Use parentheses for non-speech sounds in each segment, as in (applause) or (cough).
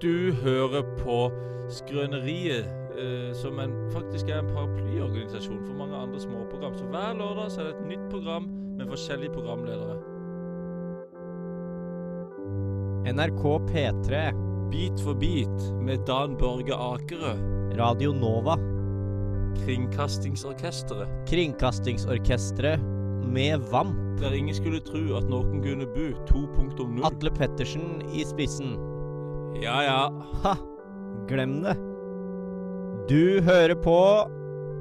Du hører på Skrøneriet, eh, som en, faktisk er en paraplyorganisasjon for mange andre småprogram. Så hver lørdag så er det et nytt program med forskjellige programledere. NRK P3, Bit for bit med Dan Børge Akerø, Radio Nova, Kringkastingsorkesteret. Kringkastingsorkestret med VAMP, Der ingen skulle tro at noen kunne bo 2.0. Atle Pettersen i spissen. Ja ja. Ha! Glem det. Du hører på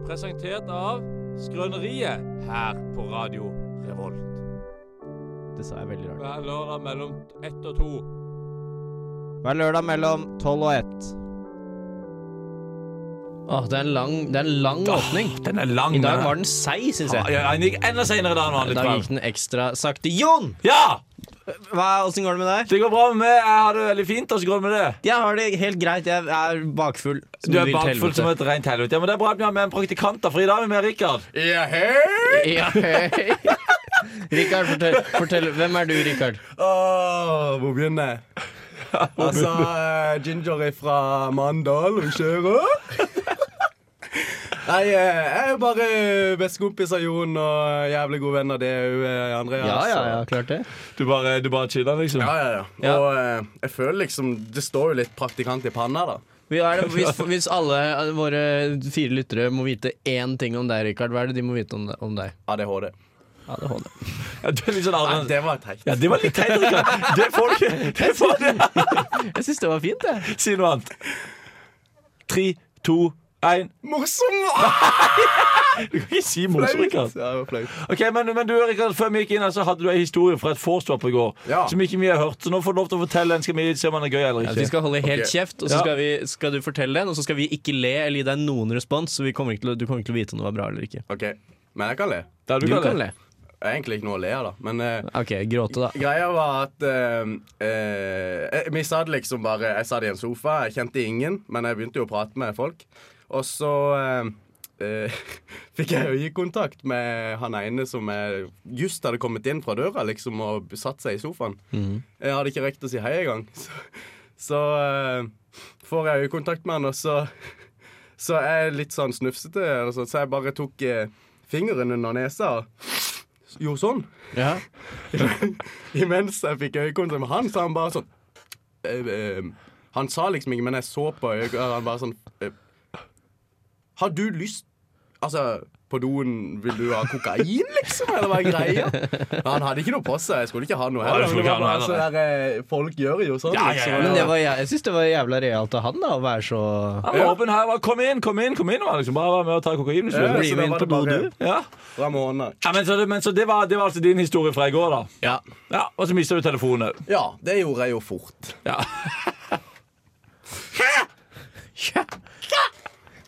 Presentert av Skrøneriet her på Radio Revolt. Det sa jeg veldig rart. Hver lørdag mellom ett og to. Hver lørdag mellom tolv og ett. Åh, det er en lang, det er en lang åpning. Den er lang. I dag var den seig, syns jeg. ja, Den gikk enda seinere da enn I vanlig. dag tror gikk jeg. den ekstra sakte. Jon! Ja! Hva, Åssen går det med deg? Det går bra med meg. Jeg har det veldig fint. Og så går det med det. Jeg har det helt greit. Jeg er bakfull. som Du er vil til bakfull som helvete. et rent helvete. Ja, men Det er bra at vi har med en praktikant da, for i dag er vi med Rikard. Ja, hei. Rikard, fortell, fortell. Hvem er du, Rikard? Åh, hvor begynner jeg? Altså, eh, Ginger er fra Mandal og kjører. Nei, eh, jeg er jo bare bestekompis av Jon og eh, jævlig god venn av det òg, Andreas. klart det. Du bare, du bare chiller, liksom? Ja, ja, ja. Og eh, jeg føler liksom Det står jo litt praktikant i panna, da. Vi er, det- (laughs) hvis, hvis alle eh, våre fire lyttere må vite én ting om deg, Rikard, hva er det de må vite om, om deg? ADHD. ADHD. Ja, du er litt sånn Nei, Adrian. det var teit. Ja, det var litt teit, Rikard. Det får du (laughs) ikke. Det får du ikke. Jeg syns det var fint, jeg. Si noe annet. Tre, to, én. Morsom! Du kan ikke si Flaut. morsom, Ja, Rikard. det var flaut. Ok, men, men du, Rikard, før vi gikk inn her, så hadde du en historie fra et vorstop i går Ja. som ikke vi har hørt. Så nå får du lov til å fortelle den. Skal vi se om den er gøy eller Ja, ikke? vi skal holde helt Ok. kjeft, og Ja. så skal, vi, skal du fortelle den, og så skal vi ikke le eller gi deg noen respons, så vi kommer ikke til, å- du kommer ikke til å vite om det var bra eller ikke. OK. Men jeg kan le. Da er Du glad i kan det. le. Jeg er egentlig ikke noe å le av, da. Men eh, Ok, gråte, da. Greia var at eh, eh, Vi satt liksom bare Jeg satt i en sofa, jeg kjente ingen, men jeg begynte jo å prate med folk. Og så eh, eh, (laughs) fikk jeg øyekontakt med han ene som jeg just hadde kommet inn fra døra liksom og satt seg i sofaen. Jeg hadde ikke rekt å si hei engang. (laughs) Så, så eh, får jeg øyekontakt med han, og så (laughs) så jeg er litt sånn snufsete, eller sånn, så jeg bare tok eh, fingeren under nesa og gjorde sånn. Ja. (laughs) Imens jeg fikk øyekontakt med han, sa han bare sånn eh, eh, Han sa liksom ikke, men jeg så på øynene, og han bare sånn eh, Har du lyst Altså, på doen vil du ha kokain, liksom? Eller hva er greia? Men han hadde ikke noe på seg. Jeg skulle ikke ha noe Ja, heller. du skulle men ikke ha det var noe bare sånn der, eh, folk gjør jo sånn. Ja, ja, ja. Men det liksom. var, jeg syns det var jævla realt av han, da, å være så Han var åpen her. Bare, kom inn, kom inn, kom inn. og han Liksom. Bare vær med og ta kokain hvis du Ja, vil. Bli så da med inn var på det do, bare- du. Ja. Fra måneden. Ja, men så, det, men så det, var, det var altså din historie fra i går, da. Ja. Ja, Og så mista du telefonen òg. Ja, det gjorde jeg jo fort.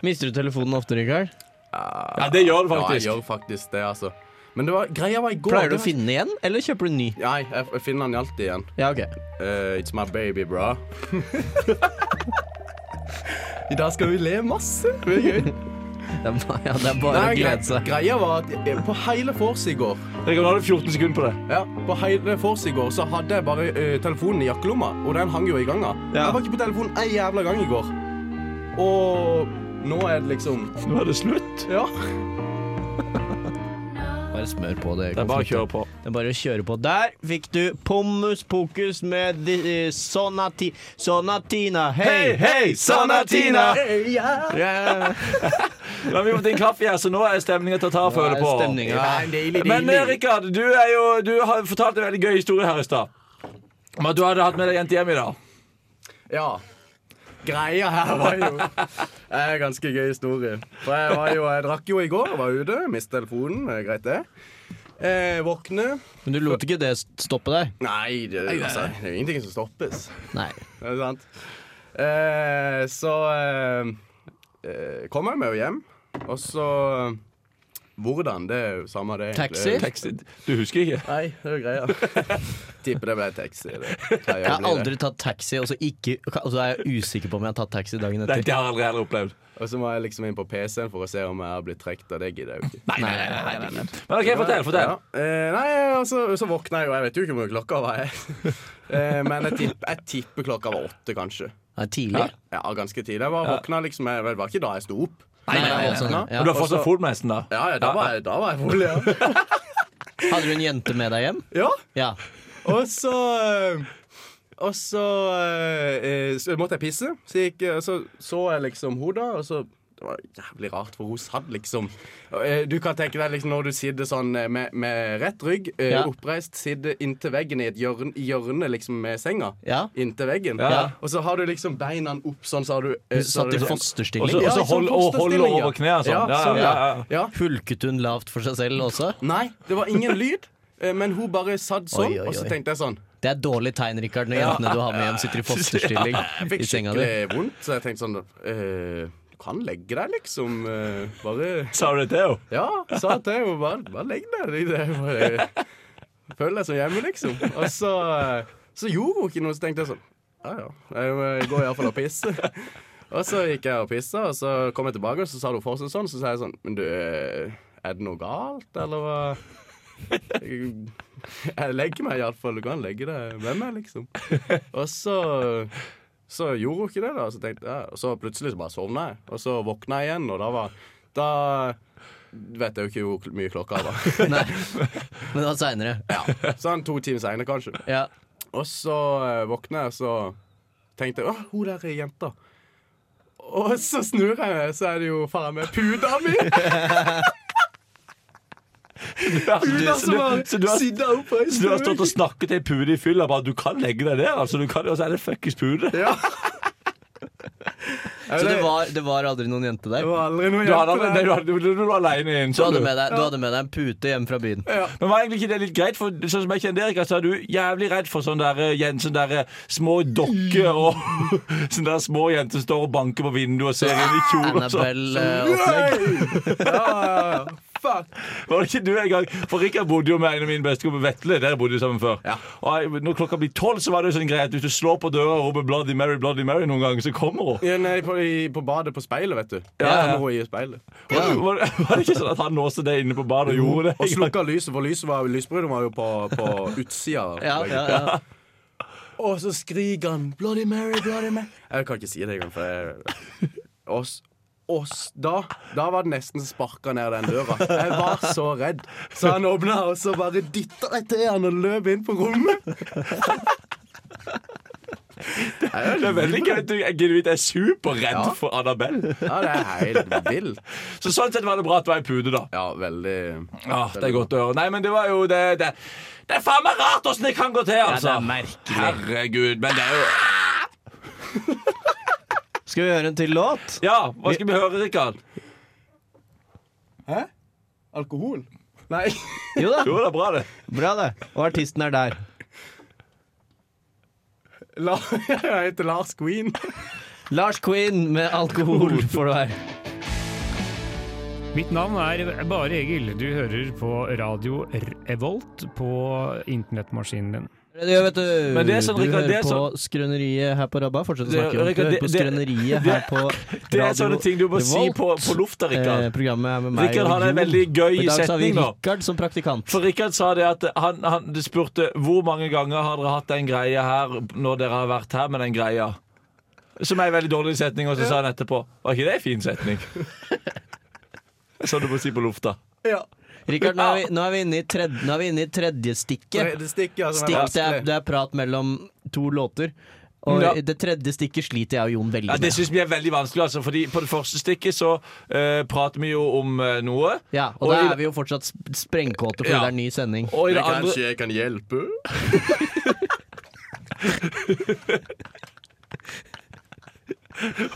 Mister du telefonen ofte, Rikard? Ja, det gjør du Ja, jeg faktisk. gjør faktisk det, altså. Men det var, greia var i går. Pleier du å det var- finne den igjen, eller kjøper du en ny? Nei, jeg jeg finner den alltid igjen. Ja, ok. Eh, it's my baby, bra. (laughs) I dag skal vi le masse. Det er gøy. Det er bare, ja, det er bare Nei, å glede gre seg. greia var at eh, på hele vors i går Rikard, nå har du 14 sekunder på det. ja, På hele vors i går så hadde jeg bare eh, telefonen i jakkelomma, og den hang jo i ganga. Ja. Jeg var ikke på telefonen ei jævla gang i går. Og nå er det liksom Nå er det slutt. Ja. Bare smør på det. Det er bare å kjøre på. Det er bare å kjøre på. Der fikk du Pommus Pokus med di, eh, Sonati, Sonatina. Hei, hei, Sonatina! (laughs) Yeah. Nå har vi fått inn kaffe her, så nå er stemninga til å ta og føle på. Stemninga. Men eh, Rikard, du, er jo, du har fortalt en veldig gøy historie her i stad. Om at du hadde hatt med deg en jente hjem i dag. Ja. Greia her var jo (laughs) Det er en ganske gøy historie. For jeg, var jo, jeg drakk jo i går, var ute, mistet telefonen. det er Greit, det. Eh, våkne Men du lot ikke det stoppe deg? Nei, det, altså, det er jo ingenting som stoppes. Nei. Det er sant. Eh, så eh, eh, kom jeg meg jo hjem, og så Hvordan, det er jo samme det. egentlig. Taxi? Taxi. Du husker ikke? Nei, det er jo (laughs) greia. Tipper det ble taxi. Det. pleier å Jeg har bli det. aldri tatt taxi, og så, ikke, og så er jeg usikker på om jeg har tatt taxi dagen Nei, etter. det har jeg aldri heller opplevd. Og så må jeg liksom inn på PC-en for å se om jeg har blitt trukket, og det gidder jeg jo ikke. Nei, nei, nei, nei, nei, nei. Men ok, fortell, fortell. Ja. Eh, nei, altså, så våkna jeg jo. Jeg vet jo ikke hvor mye klokka var. Jeg. (laughs) eh, men jeg tipper, jeg tipper klokka var åtte, kanskje. Nei, tidlig. Ja, ganske tidlig. Jeg bare våkna liksom jeg, Det var ikke da jeg sto opp. Nei, altså, nei, nei, nei, nei. Men du har fortsatt foodmesten, da? Ja, ja, da var jeg, da var jeg rolig, ja. Hadde du en jente med deg hjem? ja. Ja. Og så eh, Og så, eh, så måtte jeg pisse. Så, gikk, eh, så så jeg liksom hun da, og så det var jævlig rart, for hun satt liksom eh, Du kan tenke deg liksom når du sitter sånn eh, med, med rett rygg, eh, Ja. oppreist, sitter inntil veggen i et hjørne, i hjørnet liksom med senga. Ja. Inntil veggen. Ja. Og så har du liksom beina opp sånn, så har du eh, Hun så har satt i du- Og fosterstilling. så- og så Ja, i sånn hold- og holde fosterstilling, ja. over knærne sånn. Ja, Ja, sånn, ja, ja. ja. Hulket hun lavt for seg selv også? Nei, det var ingen lyd. eh, Men hun bare satt sånn, Oi, oi, og så oi. tenkte jeg sånn Det er et dårlig tegn, Rikard, når jentene du har med hjem, (laughs) sitter i fosterstilling Jeg i fikk senga di. skikkelig vondt, så jeg tenkte sånn eh, Du kan legge deg, liksom. eh, bare Sa du det til henne? Ja, sa jeg til henne. Bare, bare legg deg. Det, det, bare, føl deg som hjemme, liksom. Og så, eh, så gjorde hun ikke noe, så tenkte jeg sånn Ja ja, jeg eh, går iallfall og pisser. Og så gikk jeg og pissa, og så kom jeg tilbake, og så sa hun fortsatt sånn. Så sa jeg sånn Men du, eh, er det noe galt, eller hva? Jeg, jeg legger meg iallfall. Du kan legge deg med meg, liksom. Og så Så gjorde hun ikke det, da. Så tenkte jeg, og så plutselig så bare sovna jeg. Og så våkna jeg igjen, og da var Da vet jeg jo ikke hvor mye klokka var. (laughs) Nei. Men det var seinere. Ja. Sånn to timer seinere, kanskje. Ja. Og så eh, våkna jeg, så tenkte jeg Å, hun der er jenta. Og så snur jeg meg, så er det jo faen meg puta (laughs) mi! Puta som har Så du har- sidda opp og Så du har stått og snakket til ei pude i fylla bare du kan legge deg der, altså. Du kan, og så er det fuckings pude. Ja. Så det var, det var aldri noen jente Det der? var aldri noe Du, hadde, jente aldri- der. nei, du, hadde- du, du, du var aleine inn. Du sånn, hadde du. med deg, du hadde med deg en pute hjemme fra (laughs) byen. Men var egentlig ikke det litt greit? For sånn som jeg kjenner Erik, så er du jævlig redd for sånne der, jen- sånne der eh, små dokker og (laughs) sånne der små jenter som står og banker på vinduet og ser inn i kjolen. og sånn. Annabelle-opplegg. Ja, ja, ja. Fuck. Var det ikke du en gang? For Rikard bodde jo med en av mine bestekommer, Vetle. Dere bodde jo sammen før. Ja. Og jeg, når klokka blir tolv, så var det jo sånn greie at hvis du slår på døra og roper 'Bloody Mary, Bloody Mary' noen ganger, så kommer hun. Ja, nei, på, i, på badet på speilet, vet du. Ja, ja. Da må hun i speilet. Var, var det ikke sånn at han låste det inne på badet og gjorde det? Og slukka lyset, for lyset var, lysbruddet var jo på, på utsida. Ja, ja, ja. Og så skriker han 'Bloody Mary, Bloody Mary'. Jeg kan ikke si det engang, for jeg og s- og s- da, da var det nesten sparka ned den døra. Jeg var så redd. Så han åpna, og så bare dytta jeg til han og løp inn på rommet. Det er (laughs) veldig gøy. Du- Jeg genuint er superredd for Annabelle. Ja, det er helt vilt. Så sånn sett var det bra at det var ei pude, da. Ja, veldig Ja, det er godt å høre. Nei, men det var jo det Det, det er faen meg rart åssen det kan gå til, altså. det er merkelig. Herregud, men det er jo Skal vi høre en til låt? Ja, hva skal vi høre, Rikard? Hæ? Alkohol? Nei. Jo da. Jo, det er bra, det. Bra, det. Og artisten er der. La, jeg heter Lars Queen. Lars Quinn med (laughs) 'Alkohol' får du her. Mitt navn er Bare Egil. Du hører på radio Revolt på internettmaskinen din. Det gjør, vet du. Men det er sånn, du Rikard, hører det er sånn- på Skrøneriet her på Rabba. Fortsett å Det- snakke om det. Du Rikard, hører på det- det- Skrøneriet her på Radio (laughs) Det er sånne ting du må si Revolt. på, på lufta, Eh, Rikard. programmet er med meg Rikard og har en Jon. veldig I gøy dag så har vi setning nå. Rikard som praktikant. For Rikard sa det at han, han du spurte hvor mange ganger har dere hatt den greia her når dere har vært her med den greia. Som er en veldig dårlig setning, og så sa han etterpå Var ikke det en fin (laughs) setning? Som Sånn du må si på lufta. Ja. Rikard, nå er vi, nå er vi inne i tredje, nå er vi inne i tredje stikket. Det stikker, altså. Stikk, det er, det er prat mellom to låter. Og Ja. det tredje stikket sliter jeg og Jon veldig Ja, det med. syns vi er veldig vanskelig, altså. Fordi på det første stikket så eh, prater vi jo om eh, noe. Ja, og, og da i- er vi jo fortsatt sp- sprengkåte fordi Ja. det er ny sending. Og i Men det andre Kanskje jeg kan hjelpe? (laughs)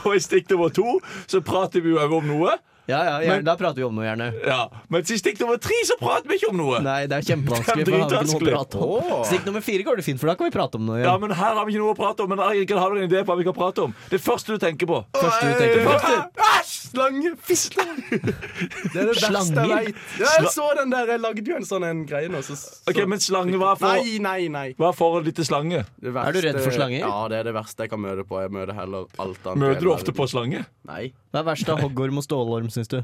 Og i stikk nummer to så prater vi jo også om noe. Ja, ja, gjerne, Da prater vi om noe, gjerne. Ja. Mens i stikk nummer tre så prater vi ikke om noe. Nei, det er kjempevanskelig. (laughs) Det er for da har vi ikke noe å prate om. dritvanskelig. Åh. Stikk nummer fire går det fint, for da kan vi prate om noe Ja, igjen. men her har vi ikke noe å prate om. Men Rikard, har du en idé på hva vi kan prate om? Det første du tenker på. Første du tenker på. Første. Æsj! Slange! Fislange! (laughs) Det er det verste jeg Slanger? veit. Ja, jeg så den der. Jeg lagde jo en sånn en greie nå. Så, så. Ok, Men slange, hva er for, Nei, nei, nei. hva er forholdet ditt til slange? Det Er du redd for slanger? Ja, det er det verste jeg kan møte på. Jeg møter heller alt annet. Møter du i hele ofte verden. på slange? Nei. Hva er verst av hoggorm og stålorm, syns du?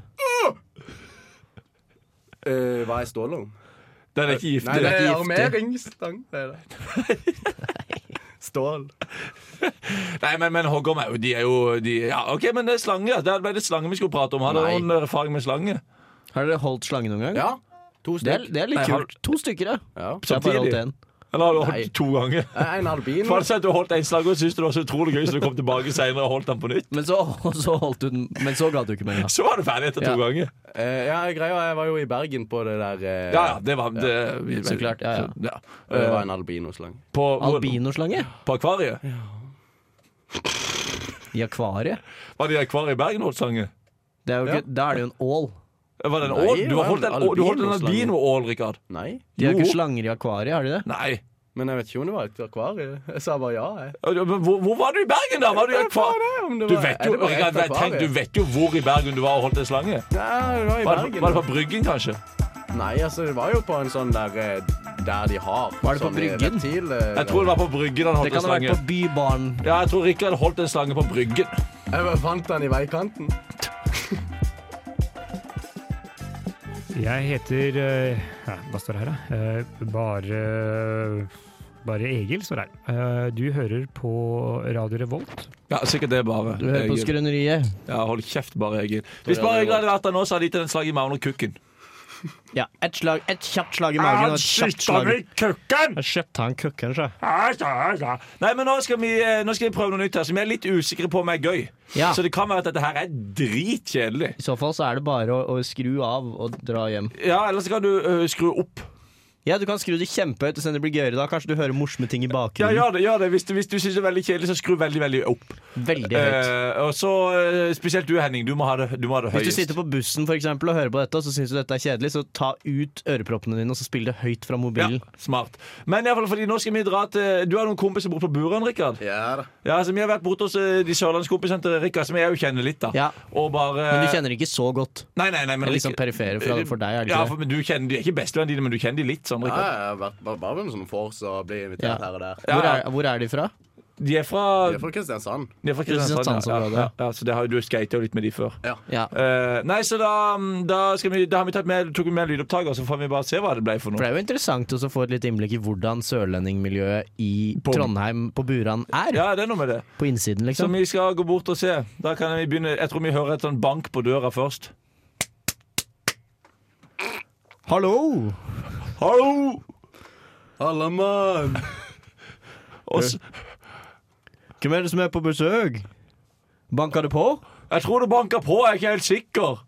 Eh, hva er stålorm? Den er ikke Nei, det giftig. er giftig. armeringsstang. Det er det. (laughs) Stål. Nei, men, men hoggorm er jo De er jo de, Ja, OK, men det er slange. ja. Det er det slange vi skulle prate om. Har dere Nei. noen erfaring med slange? Har dere holdt slange noen gang? Ja. To Det er, stykk. det er litt Nei, har- kult. To stykker, ja. Ja. Jeg har bare holdt Samtidig. én. Eller har du Nei. holdt to ganger? En albino. (laughs) Var det sånn at du holdt en slange og syntes det var så utrolig gøy, så du kom tilbake senere og holdt den på nytt? Men så, (laughs) så holdt du den Men så ga du (laughs) ikke mer. da. Så var du ferdig etter Ja. to ganger. Eh, ja, greia, jeg var jo i Bergen på det der eh, Ja, ja, det var det, vi- Så klart, ja, så- ja. ja. Det var Eh, en albinoslang. På, hvor- Albinoslange? på akvariet? I akvariet? Var det i akvariet i Bergen holdt slange? Det er jo ikke, Da er det jo en ål. Var det en Nei, ål? Du har det holdt var en, en å- du holdt en albinoslange. albinoål, Rikard. Nei. De har Jo. ikke slanger i akvariet, har de det? Nei. Men jeg vet ikke om det var et akvarie. (laughs) Jeg sa bare ja, jeg. Ja, Men hvor, hvor var du i Bergen, da? Var du i akvariet? Om det Du var- vet Ja, jo, det var et Rikard, jeg akvarie. tenk, du vet jo hvor i Bergen du var og holdt en slange. Nei, det var i Var, Bergen. var det på Bryggen, kanskje? Nei, altså, det var jo på en sånn der eh, Der de har. Var det på sånne Bryggen? Reptil, eh, Jeg tror det var på Bryggen han Det holdt en kan ha vært slange. på Bybaren. Ja, jeg tror Rikard holdt en slange på Bryggen. Jeg bare fant den i veikanten. Jeg heter eh, ja, Hva står det her, da? Eh, Bare bare Egil står det her. Eh, Du hører på Radio Revolt. Ja, sikkert det, bare. Du hører på Egil. Skrøneriet. Ja, hold kjeft, bare, Egil. Hvis bare Egil hadde vært der nå, så hadde de gitt en slag i magen og kukken. Ja, ett slag, et kjapt slag i Ah, magen og et kjapt slag. Jeg skjøtta han kukken, sjø. Nei, men nå skal, vi, eh, nå skal vi prøve noe nytt her som vi er litt usikre på om er gøy. Ja. Så det kan være at dette her er dritkjedelig. I så fall så er det bare å, å skru av og dra hjem. Ja, eller så kan du eh, skru opp. Ja, du kan skru det kjempehøyt og se om det blir gøyere da. Kanskje du hører morsomme ting i Ja, bakgrunnen. gjør det, gjør det. Hvis du, hvis du syns det er veldig kjedelig, så skru veldig, veldig opp. Veldig høyt. Eh, og så eh, Spesielt du, Henning. Du må ha det, du må ha det høyest. Hvis du sitter på bussen for eksempel, og hører på dette, og så syns du dette er kjedelig, så ta ut øreproppene dine og så spill det høyt fra mobilen. ja, smart. Men i alle fall, fordi nå skal vi dra til eh, Du har noen kompiser borte på Buran, Rikard? Ja da. Ja, altså, Vi har vært borte hos eh, de sørlandskompisene til Rikard, som jeg jo kjenner litt, da. Ja. Og bare Men du kjenner det ikke så godt. Nei, nei, nei, men Det er liksom Rikard- perifere fra, for deg, er det eh, Ja, ikke for, men du kjenner, de er ikke bestevennene dine, men du kjenner de litt sånn, Ja, Rikard. jeg har vært bare- sånn bare med som force og blir invitert Ja. her og der. det? Hvor ja. er, hvor er de fra? De er fra, Jeg er fra Kristiansand. de er fra sånn Kristiansand. Ja, Kristiansandsområdet. ja, ja, så det har, jo- du skata jo litt med de før. Ja. Ja, Eh, nei, så da, da, skal vi, da har vi tatt med, tok vi med en lydopptaker, så får vi bare se hva det ble for For noe. det er jo interessant også å få et litt innblikk i hvordan sørlendingmiljøet i På- Trondheim, på Buran, er. Ja, det er noe med det. På innsiden, Så liksom. vi skal gå bort og se. Da kan vi begynne Jeg tror vi hører et sånn bank på døra først. Hallo! Hallo! Halla, mann! Og s- Hvem er det som er på besøk? Banker det på? jeg tror det banker på, jeg er ikke helt sikker.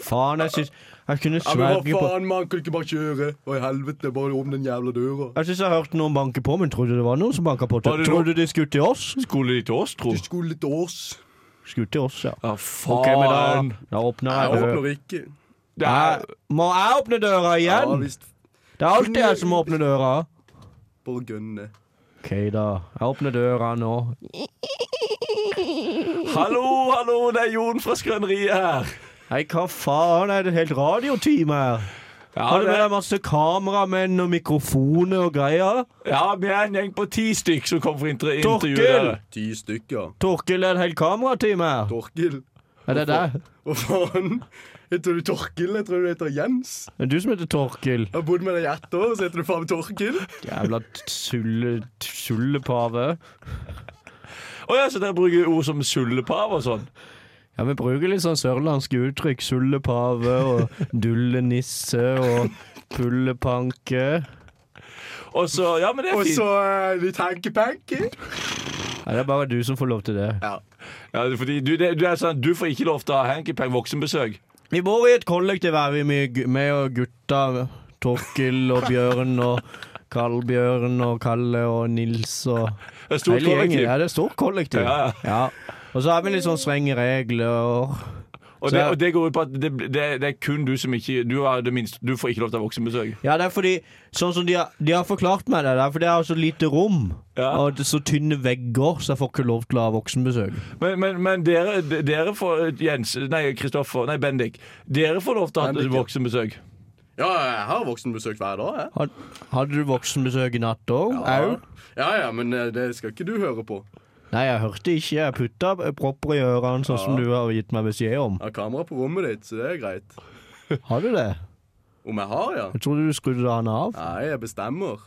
Faen, jeg syns Jeg kunne Ja, men sverge hva på faen, mann? Kan du ikke bare kjøre? Hva i helvete? Bare om den jævla døra. Jeg syns Altså, jeg hørte noen banke på, men trodde det var noen som banka på. Var det Trodde de skulle til oss? Skulle de til oss, tro? Du skulle til oss. Skulle til oss, ja. Ja, faen. Ok, men da, da åpner Jeg jeg døra. åpner ikke. Det Jeg- er, Må jeg åpne døra Ja igjen? visst. Det er alltid jeg som åpner døra. Bare gønne. OK, da. Jeg åpner døra nå. hallo, hallo, det er Jon fra Skrøneriet her. Hei, hva faen? Er det et helt radiotime her? Ja, Har du det- med deg masse kameramenn og mikrofoner og greier? Ja, vi er en gjeng på ti stykk som kom for inter Torkel! intervju dere. Ti stykker. Torkil, er det et helt kameratime her? Torkil. Er det deg? Hva faen? Heter du Torkil? Jeg tror du heter Jens. Det er du som heter Torkil. Jeg har bodd med deg i ett år, så heter du faen meg Torkil. Jævla sulle, sullepave. Å ja, så dere bruker ord som sullepav og sånn? Ja, vi bruker litt sånn sørlandske uttrykk. Sullepave og dullenisse og pullepanke. Og så, ja, men det er Og fint. så eh, litt hanky-panky. Ja, det er bare du som får lov til det. Ja, det er fordi du, det, du, er sånn, du får ikke lov til å ha hankypang voksenbesøk. Vi bor i et kollektiv her, vi med, gu- med og gutta. Torkil og Bjørn og Karl-Bjørn og Kalle og Nils og Det er stort hele gjengen. kollektiv. Ja, det er stort kollektiv. Ja, ja. Ja. Og så har vi litt sånn strenge regler. Og det, og det går ut på at det, det, det er kun du som ikke Du, har det minste, du får ikke lov til å ha voksenbesøk. Ja, det er fordi Sånn som de har, de har forklart meg det, det er fordi jeg har så lite rom. Ja. Og det er så tynne vegger, så jeg får ikke lov til å ha voksenbesøk. Men, men, men dere, de- dere får Jens, nei, Kristoffer, nei, Bendik. Dere får lov til å ha Bendik, ja. voksenbesøk. Ja, jeg har voksenbesøk hver dag, jeg. Had, hadde du voksenbesøk i natt òg? Ja. ja ja, men eh, det skal ikke du høre på. Nei, jeg hørte ikke. Jeg putta propper i ørene, sånn som du har gitt meg beskjed om. Jeg har kamera på rommet ditt, så det er greit. Har du det? Om jeg har, ja? Jeg trodde du skrudde han av. Nei, jeg bestemmer.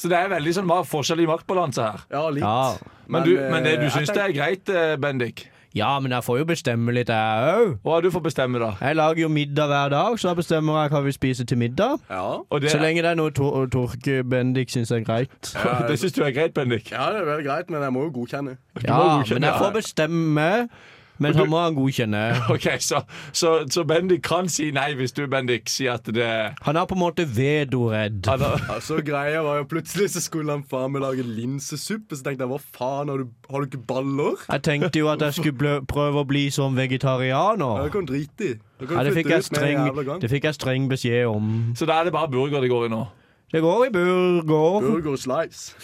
Så det er veldig sånn hva er forskjell i maktbalanse her. Ja, litt. Ja. Men, du, men det, eh, du jeg syns det er greit, eh, Bendik? ja, men jeg får jo bestemme litt, jeg òg. Hva har du for bestemme, da? Jeg lager jo middag hver dag, så da bestemmer jeg hva vi spiser til middag. tenker- Ja. Og det, Så lenge det er noe tor Torke Bendik syns er greit. (laughs) det syns du er greit, Bendik? (laughs) ja, det er vel greit, men jeg må jo godkjenne. Ja, godkjenne men jeg får bestemme. Men så må han godkjenne. OK, så, så, så Bendik kan si nei hvis du, Bendik, sier at det (laughs) Han er på en måte vedoredd. han har, Ja, så greia var jo plutselig så skulle han faen meg lage linsesuppe, så tenkte jeg hva faen, har du, har du ikke baller? Jeg tenkte jo at jeg skulle blø- prøve å bli som Ja, vegetarianer. det kan du drite i. Da Ja, kan du det flytte fikk jeg ut med en streng, jævla gang. det fikk jeg streng beskjed om. Så da er det bare burger det går i nå? Det går i burger. Burger slice.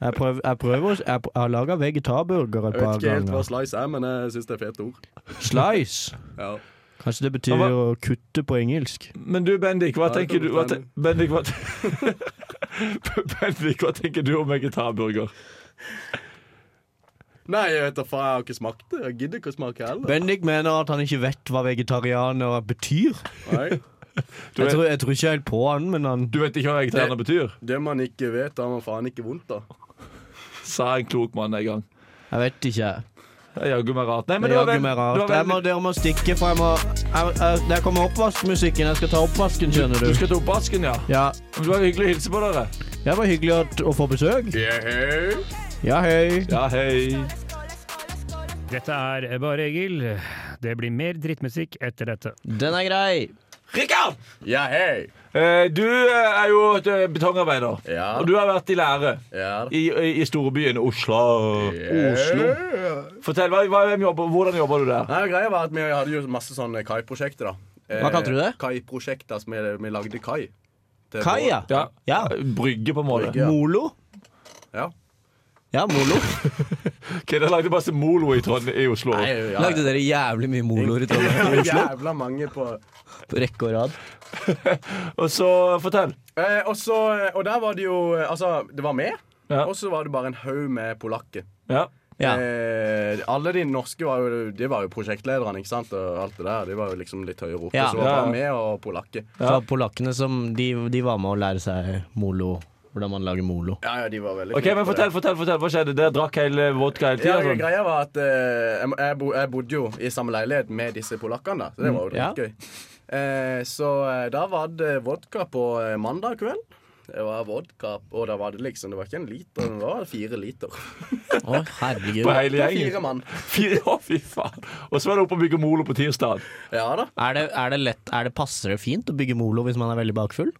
Jeg, prøv, jeg prøver å- Jeg, pr- jeg har laga vegetarburger et Jeg vet par ikke helt hva ganger. slice er, men jeg syns det er fete ord. Slice. Ja. Kanskje det Ja, betyr å kutte på engelsk. Men du, Bendik, hva Ja, det tenker kan du godt hva te, Bendik, hva te- (laughs) Bendik, hva tenker du om vegetarburger? Nei, jeg vet da faen, jeg har ikke smakt det. Jeg gidder ikke å smake heller. Bendik mener at han ikke vet hva vegetarianer betyr. Nei. Du Jeg vet, tror, jeg tror ikke helt på han, men han du vet ikke hva vegetarianer betyr? Det man ikke vet, har man faen ikke vondt av. Sa en klok mann en gang. Jeg vet ikke. Det er jaggu meg rart. Nei, men Det er det var vel- jaggu meg det rart. var Jeg veldig- må, dere må stikke, for jeg må jeg, jeg, Der kommer oppvaskmusikken. Jeg skal ta oppvasken, skjønner Du du. skal til oppvasken, ja? Ja, Men Det var hyggelig å hilse på dere. Det var hyggelig at, å få besøk. Yeah. Ja, hei. Ja, hei. Dette er Bare Egil. Det blir mer drittmusikk etter dette. Den er grei. Rikard! Ja, hei. Eh, du eh, er jo et, eh, betongarbeider. Ja. Og du har vært i lære Ja. i, i, i storbyen Oslo. Oslo. Fortell, hva, hva, hvem jobber, Hvordan jobber du der? Nei, greia var at Vi hadde jo masse sånne kai-prosjekter. da Eh, Hva kalte du det? Kai-prosjekter som vi, vi lagde kai. til Kai, ja. båt. Ja. Ja. Brygge, på en måte. Brygge. Ja. Molo. Ja. Ja, Molo. Ok, Dere lagde masse molo i, Trond i Oslo. Nei, ja. Lagde dere jævlig mye moloer i Trondheim? Jævla mange på (laughs) På rekke og rad. Og så fortell. eh, Og så Og der var det jo eh, Altså, det var meg, Ja. og så var det bare en haug med polakker. Ja. Ja. Eh, alle de norske var jo, de var jo prosjektlederne, ikke sant? Og alt det der. De var jo liksom litt høyere oppe. Ja. Så var det Ja, ja. bare meg og polakker. For polakkene som de, de var med å lære seg molo. Hvordan man lager molo. Ja, ja, de var veldig Ok, flinke men på det. Fortell, fortell, fortell, hva skjedde? Dere drakk hele vodka hele Ja, tida? Sånn. greia var at eh, jeg, jeg, bo, jeg bodde jo i samme leilighet med disse polakkene, da, så det var Mm, jo Ja. dritgøy. Eh, så eh, da var det vodka på eh, mandag kveld. Det var vodka, og da var det liksom Det var ikke en liter, det var fire liter. Å, herregud. På hele (laughs) Det var gjengen? fire mann. Fire, å, (laughs) fy faen. Og så var det oppe og bygge molo på tirsdag. Ja da. Er det, er det lett Er det passer det fint å bygge molo hvis man er veldig bakfull?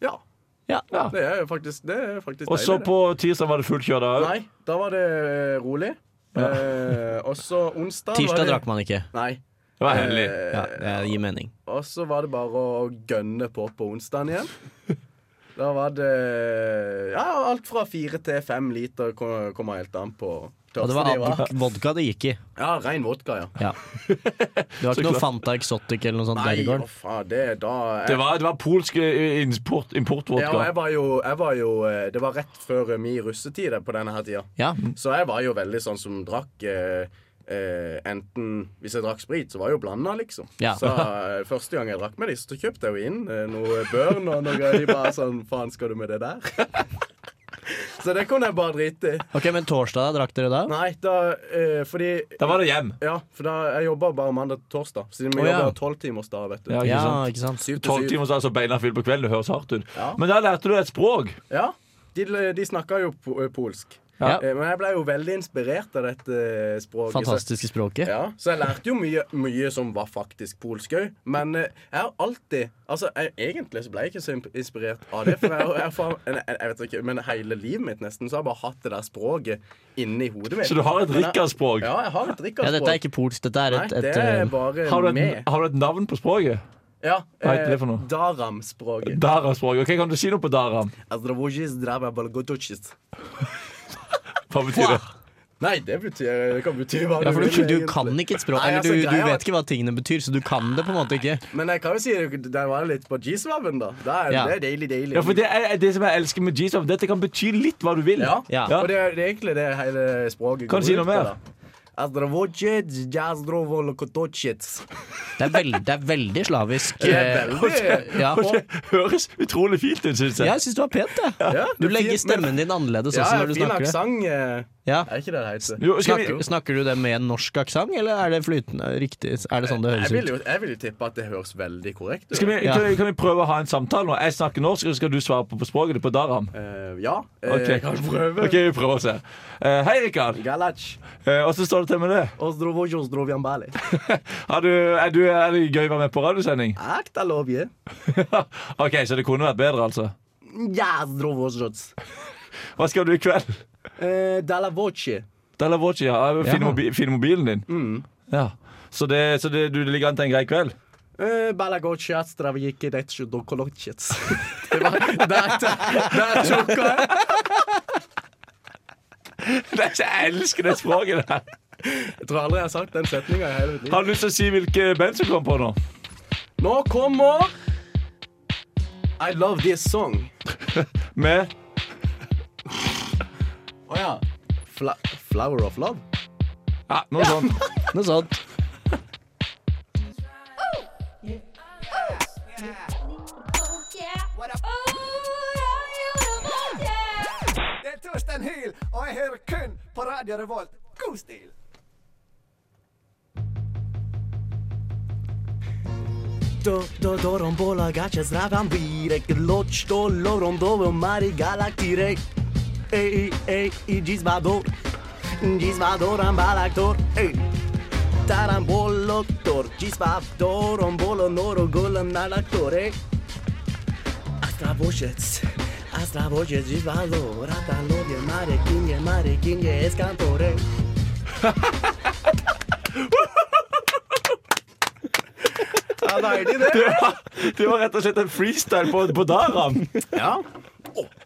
Ja. Ja. Ja. Det er jo faktisk, det er faktisk Og så det. på tirsdag var det fullt kjør da òg. Nei, da var det eh, rolig. Eh, og så onsdag Tirsdag var det, drakk man ikke. Nei. Det var heldig. Eh, Ja, det gir mening. Og så var det bare å gønne på på onsdagen igjen. (laughs) Da var det ja, alt fra fire til fem liter kom- kommer helt an på Og det tørste var de var. vod- vodka det gikk i. Ja, rein vodka, ja. Ja. Det var ikke noe Fanta Exotic eller noe sånt der i Nei, hva går? faen, det er da Det jeg, var, det var polsk eh, import, ja, og importvodka. jeg var jo, jeg var jo eh, Det var rett før min russetid på denne her tida. Ja. Så jeg var jo veldig sånn som drakk eh, eh, Enten Hvis jeg drakk sprit, så var jeg jo blanda, liksom. Ja. Så eh, første gang jeg drakk med de, så kjøpte jeg jo inn eh, noe børn og noe greier. De bare sånn Faen, skal du med det der? (laughs) så det kunne jeg bare drite i. Ok, men torsdag, da? Drakk dere da? Nei, da eh, Fordi Da var det hjem. Ja, for da jeg jobba bare mandag til torsdag. Siden vi Å, ja. jobber tolvtimersdag, vet du. Ja, ikke Ja, sant? ikke sant? Syv Tolv til syv. timer så altså beina fylt på kvelden. Det høres hardt ut. Ja. Men da lærte du et språk. Ja. De, de snakka jo po polsk. Ja. Eh, Men jeg ble jo veldig inspirert av dette eh, språket. Fantastiske Så, språket. ja, så jeg lærte jo mye, mye som var faktisk polsk òg. Men eh, jeg har alltid Altså, jeg, egentlig så ble jeg ikke så imp- inspirert av det. For jeg, jeg, har faen- jeg, jeg, jeg vet ikke, men hele livet mitt nesten så har jeg bare hatt det der språket inni hodet mitt. Så du har et Men jeg- Rikard-språk? Ja, jeg har et Ja, Rikard-språk. dette er ikke polsk. Dette er Nei, et, det et eh, er bare Har du, et, med. har du et navn på språket? Ja, eh, Hva heter det for noe? Daram-språket. Daram-språket. Ok, Kan du si noe på daram? Azdravojis, drava, balgotochis. Hva betyr det? Nei, det betyr Det kan bety hva ja, for du, du egentlig. kan ikke et språk. Nei, Eller altså, du, du greia er vet at- ikke hva tingene betyr, så du kan det på en måte ikke. Men jeg kan jo si den var litt på G-svaben, da. Det er, Ja. det er deilig, deilig. Ja, for det, er, det som jeg elsker med G-Stop, det er at det kan bety litt hva du vil. (laughs) Ja. Ja. Og det er, det er egentlig det hele språket Kan du si noe mer? Azdravojis, jazdrovolokotochits. Det er, veld, det er veldig slavisk. Det eh, er veldig Ja. Og det høres utrolig fint ut, syns Ja, jeg. jeg syns det var pent, jeg. Ja, Du det er legger fint, men- stemmen din annerledes Ja, også når du fin snakker. aksent. eh, Ja. Er ikke det det heter? Jo, skal vi, Snakker, snakker du det med en norsk aksent, eller er det flytende? Riktig, er det sånn det Jeg vil, høres ut? jo, jeg vil jo tippe at det høres veldig korrekt ut. skal vi, Ja. kan, vi, kan vi prøve å ha en samtale nå? Jeg snakker norsk, og så skal du svare på, på språket ditt på daram. Eh, ja. Eh, Ok. Kan vi prøve? Ok, vi prøver oss her. Eh, hei, Rikard. Galac. Eh, Åssen står det til med det? (laughs) Ozdrovojos drovjambali. Har du, er, du, er det gøy å være med på radiosending? (laughs) Akta lovje. OK, så det kunne vært bedre, altså. Jazdrovojos. Hva skal du i kveld? Eh, Dalla voce. Della Voci, ja. Finn, mobi, finn mobilen din. Ja. Så, det, så det, du, det ligger an til en grei kveld? (laughs) Eh, Balagoci astraviki detsju dokolociets. (laughs) Det var der, der tok jeg. Jeg elsker det språket der. Jeg tror aldri jeg har sagt den setninga i hele mitt liv. Har du lyst til å si hvilke band som kom på nå? Nå kommer I love this song. Med (laughs) Å ja. Fla flower of love? ja, noe sånt. (laughs) Noe sånt. Det er Torstein Hyl, og jeg hører kun på Radio Revolt. God stil! Do, do, do, rombola, gače zraven virek, loč to, lo, rondovo, mari galaktirek. Ej, ej, i džizvador, džizvador, ambalaktor, ej. Taramboloktor, džizvador, rombolo, noro, golem, nalaktor, ej. Astravožec, astravožec, džizvador, ratalovje, mare, kinje, mare, kinje, eskantor, ej. Ja, deilig, det. Det var, det var rett og slett en freestyle på, på Daram. Ja.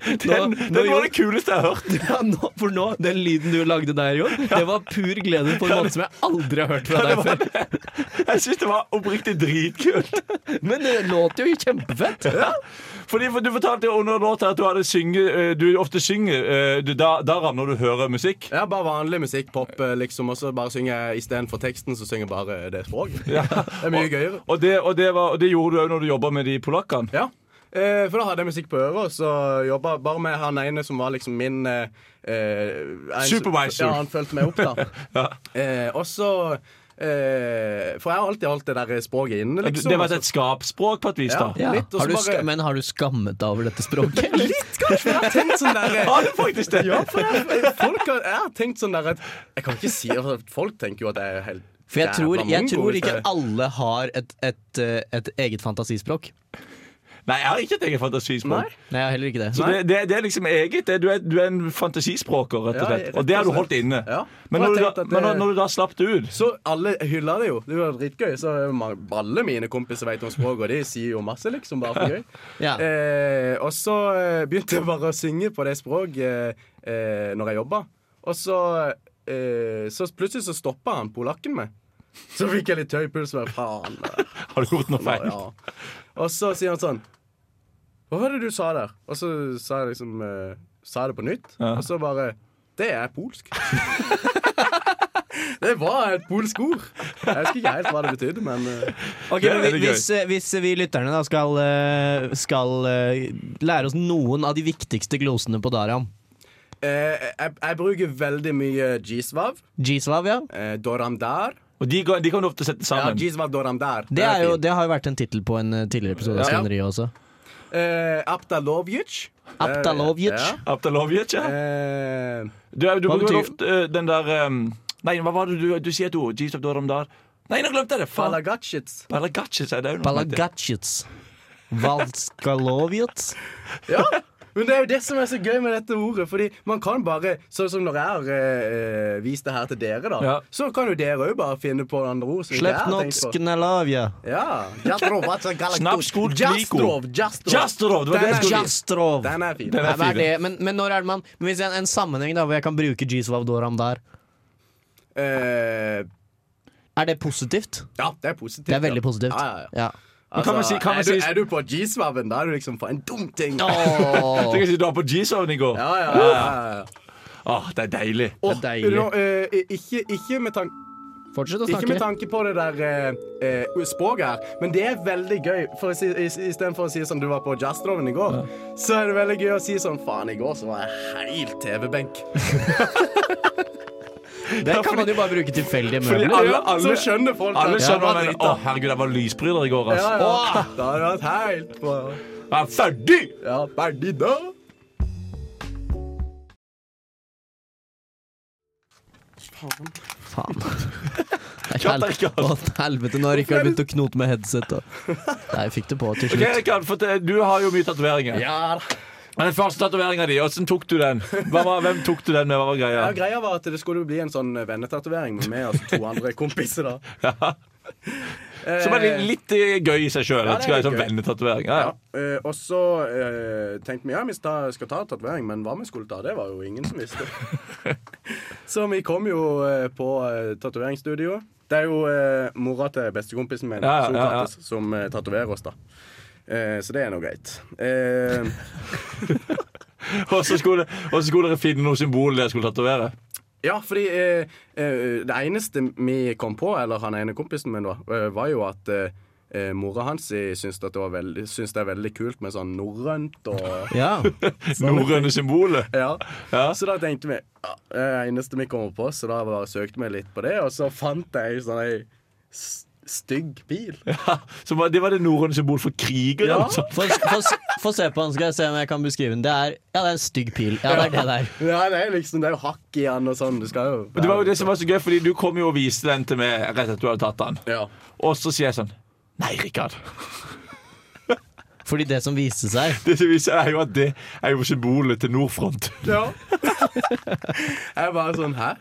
Den, den var det kuleste jeg har hørt. (laughs) Ja, nå, for nå, den lyden du lagde der, Jon, det var pur glede på en måte som jeg aldri har hørt fra deg før. (laughs) Jeg syns det var oppriktig dritkult. Men det låter jo kjempefett. Fordi for Du fortalte jo under låta at du, hadde synge, eh, du ofte synger eh, du, da, Daram når du hører musikk. (laughs) Ja, bare vanlig musikk, pop, liksom. Og så bare synger jeg istedenfor teksten, så synger jeg bare eh, det språket. (laughs) Det er mye gøyere. Og det, og det, var, og det gjorde du òg når du jobba med de polakkene. Ja. Eh, for da hadde jeg musikk på øret, og så jobba bare med han ene som var liksom min eh, eh, en- Supervisor. Ja, han fulgte meg opp, (laughs) da. eh, og så eh, For jeg har alltid holdt det der språket inne, liksom. Det var et skapspråk på et vis, da. Ja. Litt, og så Har du bare- ska, men har du skammet deg over dette språket? (laughs) eller? (laughs) Litt, kanskje. Jeg har tenkt sånn der Har du faktisk det? (laughs) Ja, for jeg, folk har, jeg har tenkt sånn der at Jeg kan ikke si altså, Folk tenker jo at jeg er helt For jeg tror, jævla jeg mongo, tror hvis ikke jeg- alle har et, et, eh, et eget fantasispråk. Nei, jeg har ikke et eget Nei. fantasispråk. Nei, jeg har heller ikke det. Så det, det, det er liksom eget. Det, du, er, du er en fantasispråker, rett og Ja, slett. rett Og det har du og holdt slett. inne. Ja. Men, Og når jeg du, da, tenkte at det- men når- når du da slapp det ut Så alle hyller det jo. Det var dritgøy. Så mange- alle mine kompiser vet om språket, og de sier jo masse, liksom, bare for gøy. Ja. Eh, og så eh, begynte jeg bare å synge på det språket eh, eh, når jeg jobba. Og så, eh, så plutselig så stoppa han polakken meg. Så fikk jeg litt høy puls. Men faen. Har du gjort noe feil? Ja. Og så sier han sånn Hva var det du sa der? Og så sa jeg liksom eh, Sa jeg det på nytt. Ja. Og så bare Det er polsk. (laughs) det var et polsk ord. Jeg husker ikke helt hva det betydde, men eh, Ok, Det er men vi- veldig gøy. hvis, eh, hvis vi lytterne da skal, eh, skal eh, lære oss noen av de viktigste glosene på Daram eh, jeg, jeg bruker veldig mye G-svav. G-svav, ja. Eh, doram der. Og de, kan- de kan du ofte sette Ja, sammen. G-svav doram der. Det, er jo, fint. det har jo vært en tittel på en eh, tidligere episode av Ja. Svineriet også. eh, Aptalovjic. Aptalovjic. Ja. Aptalovjic, ja. Eh, Du, er- du Hva bruker betyr- vel ofte eh, den der ehm, Nei, hva var det du, du sier et ord? Jesus, da, da, da. Nei, nå glemte jeg det! Faen. Balagatsjits. Balagatsje, sier det òg. Balagatsjits. Valskalovjits. Ja. Men det er jo det som er så gøy med dette ordet. Fordi man kan bare, sånn som når jeg har eh, eh, vist det her til dere, da, Ja. så kan jo dere òg bare finne på andre ord. som ikke jeg har tenkt på. Slepnotsknelavja. Ja. Jastrov, altså, galaktor- Snapskol, Jastrov, Jastrov. Jastrov, det var det Den jeg er- skulle- Jastrov. Den er fin. Den er Ja, hva er fin. det? Men, men når er det man Men Hvis det er en sammenheng da hvor jeg kan bruke Gisvavdoram der, er Eh, det positivt? ja, det er positivt. Det er veldig ja. positivt. Ja, ja, ja. Ja. Men kan man si- kan man er, du, si- er du på G-svaven, da er du liksom for en dum ting. Ja, Åh. Tenk å si du var på G-Zone i går. ja, ja, ja, ja. Åh, det er deilig. Åh, deilig. nå, eh, ikke, ikke, med tan Fortsett å ikke med snakke. tanke på det der eh, eh, språket her, men det er veldig gøy. For å si, i, i stedet for å si sånn du var på Jazzroven i går, så er det veldig gøy å si sånn faen, i går så var jeg helt (laughs) TV-benk. Det kan man jo bare bruke tilfeldige (laughs) Fordi møbler. alle, Så alle, skjønner folk alle at jeg skjønner var hva jeg mener. drita. Å, herregud, jeg var lysbryter i går, Ja, altså. ja. Da har du vært helt på Jeg er ferdig! Ja, ferdig da. Faen. Kan jeg ikke ha- Å, helvete, nå har Rikard begynt å knote med headsetet. Nei, jeg fikk det på til Ok, slutt. Rikard, fortell- Du har jo mye tatoveringer. Ja da. Men den første tatoveringa di, åssen tok du den? Hva var, hvem tok du den med? Hva var greia? Ja, greia var at det skulle jo bli en sånn vennetatovering med meg og to andre kompiser. da Eh, Som er litt, litt eh, gøy i seg sjøl. Ja, Ja, det er skal være sånn litt gøy. vennetatovering. Ja, ja. ja. eh, Og så eh, tenkte vi ja, vi sta- skal ta tatovering, men hva vi skulle ta, det var jo ingen (laughs) som visste. så vi kom jo eh, på eh, tatoveringsstudio. Det er jo eh, mora til bestekompisen min, Ja, ja, ja, ja. Sokrates, som eh, tatoverer oss, da. Eh, så det er nå greit. (laughs) Eh, Og så skulle, og så skulle dere finne noe symbol dere skulle tatovere. Ja, fordi eh, eh, det eneste vi kom på, eller han ene kompisen min, da, eh, var jo at eh, eh, mora hans eh, syns, at det var veldig, syns det er veldig kult med sånn norrønt og Ja. Norrøne symbolet. ja. Ja. Så da tenkte vi ja, det er det eneste vi kommer på, så da bare søkte vi litt på det, og så fant jeg ei sånn ei s- stygg pil. Ja, så var- det var det norrøne symbol for kriger, Ja. altså. Få, få, få se på den, skal jeg se om jeg kan beskrive den. Det er, ja, det er en stygg pil. Ja, det er det der. (laughs) Ja, det er liksom Det er jo hakk i den og sånn. Du skal jo Men Det var jo det som var så gøy, fordi du kom jo og viste den til meg rett etter du hadde tatt den. ja. Og så sier jeg sånn Nei, Rikard. (laughs) Fordi det som viste seg Det som viser er jo at det er jo symbolet til Nordfront. ja. (laughs) jeg bare sånn Hæ?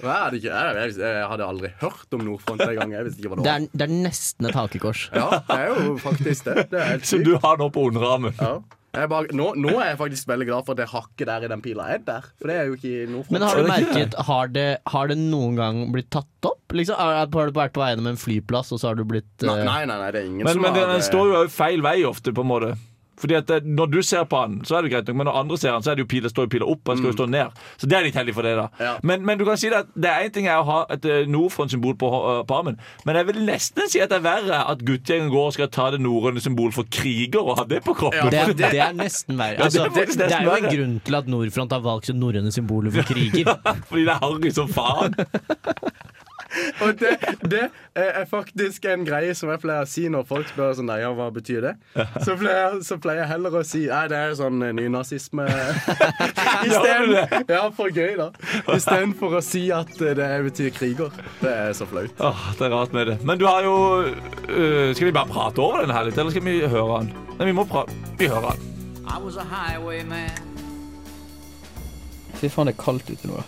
Hva er det ikke? Jeg, jeg, jeg hadde aldri hørt om Nordfront en gang. Jeg visste ikke hva det var. Det er, det er nesten et hakekors. Ja, det er jo faktisk det. Det er helt Som sykt. du har nå på underarmen. Ja. Jeg bare, nå, nå er jeg faktisk veldig glad for at det hakket der i den pila er der. For det er jo ikke noe Men har du det ikke merket, har det, har det noen gang blitt tatt opp? Liksom, har har du vært på vei gjennom en flyplass, og så har du blitt Nei, eh, nei, nei, nei, det er ingen Men, som men har den, den står jo også feil vei ofte, på en måte. Fordi at det, Når du ser på den, så er det greit nok, men når andre ser den, så er det jo piler, står jo piler opp. Og den skal jo stå ned Så det er litt heldig for deg, da. Mm. Ja. Men, men du kan si det at det er én ting er å ha et eh, Nordfront-symbol på, eh, på armen, men jeg vil nesten si at det er verre at guttegjengen går og skal ta det norrøne symbolet for kriger og ha det på kroppen. (laughs) det, er- det er nesten (laughs) Ja, verre. det er Altså, det, faktisk det nesten er jo en verre. grunn til at Nordfront har valgt det norrøne symbolet for (laughs) kriger. Fordi det er harry som faen. Og det, det er faktisk en greie som jeg pleier å si når folk spør sånn Nei, ja, hva betyr det? Så pleier, så pleier jeg heller å si Nei, det er sånn eh, (laughs) nynazisme. I Gjør du stedet- ja, for gøy, da. Istedenfor å si at eh, det betyr kriger. Det er så flaut. Åh, det er rart med det. Men du har jo eh, Skal vi bare prate over den her litt, eller skal vi høre den? Nei, vi må prate. Vi hører den. Fy faen, det er kaldt ute nå.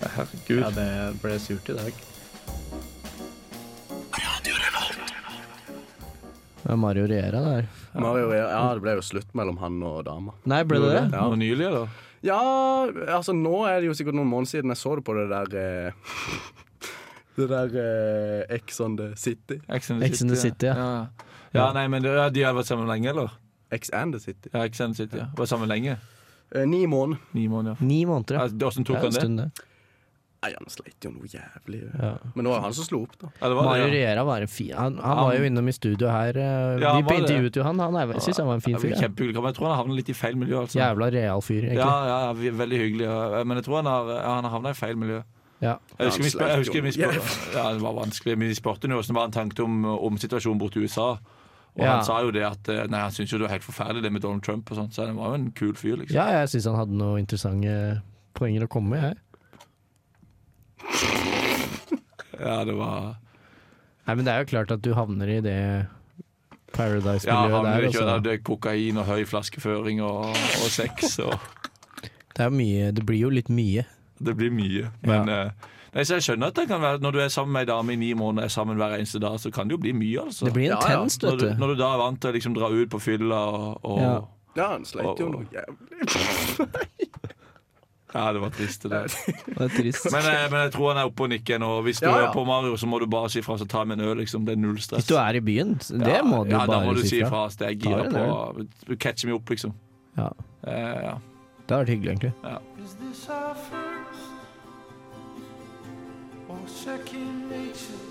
Herregud. det ble surt i dag. Det er Mario Riera der. Mario, ja, det ble jo slutt mellom han og dama. Nei, ble det det? Ja. Nå Nylig, eller? Ja, altså nå er det jo sikkert noen måneder siden jeg så det på det der eh, (laughs) Det der eh, Ex on the City. Ex and Ex and the City, ja. ja. Ja, nei, men det, ja, De har vært sammen lenge, eller? Ex and the City. Ja, Ex and the City, ja. Var sammen lenge? Eh, ni måneder. Ni måneder. Ni måneder, Ja, ja. Åssen Det tok er en han det? stund, det. Nei, han sleit jo noe jævlig. Men det var jo han som slo opp, da. Ja, det var Mario det, ja. Riera var en fin Han, han var jo innom i studio her. eh, Ja, han Vi var det. intervjuet jo han. Han er- jeg synes han var en fin Ja, fyr. vi er Ja. kjempehyggelig, men jeg tror han havna litt i feil miljø. altså Ja, Jævla real fyr, ja, egentlig. ja vi er veldig hyggelig, ja. men jeg tror han har, ja, han har havna i feil miljø. Ja. Jeg husker vi Ja, han spør, jeg sleit husker jo. vi spør, ja, det var vanskelig, men vi spurte jo hvordan var han tanke om, om situasjonen borte i USA. Og Ja. han sa jo det at eh, Nei, han syntes jo det var helt forferdelig det med Donald Trump og sånt, så han var jo en kul fyr, liksom. Ja, jeg syns han hadde noen interessante poenger å komme med. Jeg. Ja, det var Nei, men det er jo klart at du havner i det Ja, han Paradise-miljøet der. ville ikke ha Altså. det kokain og høy flaskeføring og, og sex og Det er jo mye. Det blir jo litt mye. Det blir mye. Ja. Men eh, Nei, så jeg skjønner at det kan være Når du er sammen med ei dame i ni måneder, er sammen hver eneste dag, så kan det jo bli mye, altså. Det blir intenst, når, du, vet du. når du da er vant til å liksom dra ut på fylla og, og ja. Ja. Ja, han sleit jo Åh. noe jævlig. det var trist, det. (laughs) der. Det er trist. Men, eh, men jeg tror han er oppe og nikker nå. Hvis du Ja, ja. er på Mario, så må du bare si fra så ta med en øl, liksom. Det er null Hvis stress. du er i byen, det Ja, må du ja, da bare må du si fra. fra. så Jeg Ta girer en på Du catcher meg opp, liksom. Ja. Eh, ja. Det hadde vært hyggelig, egentlig. Is this our first or second nature?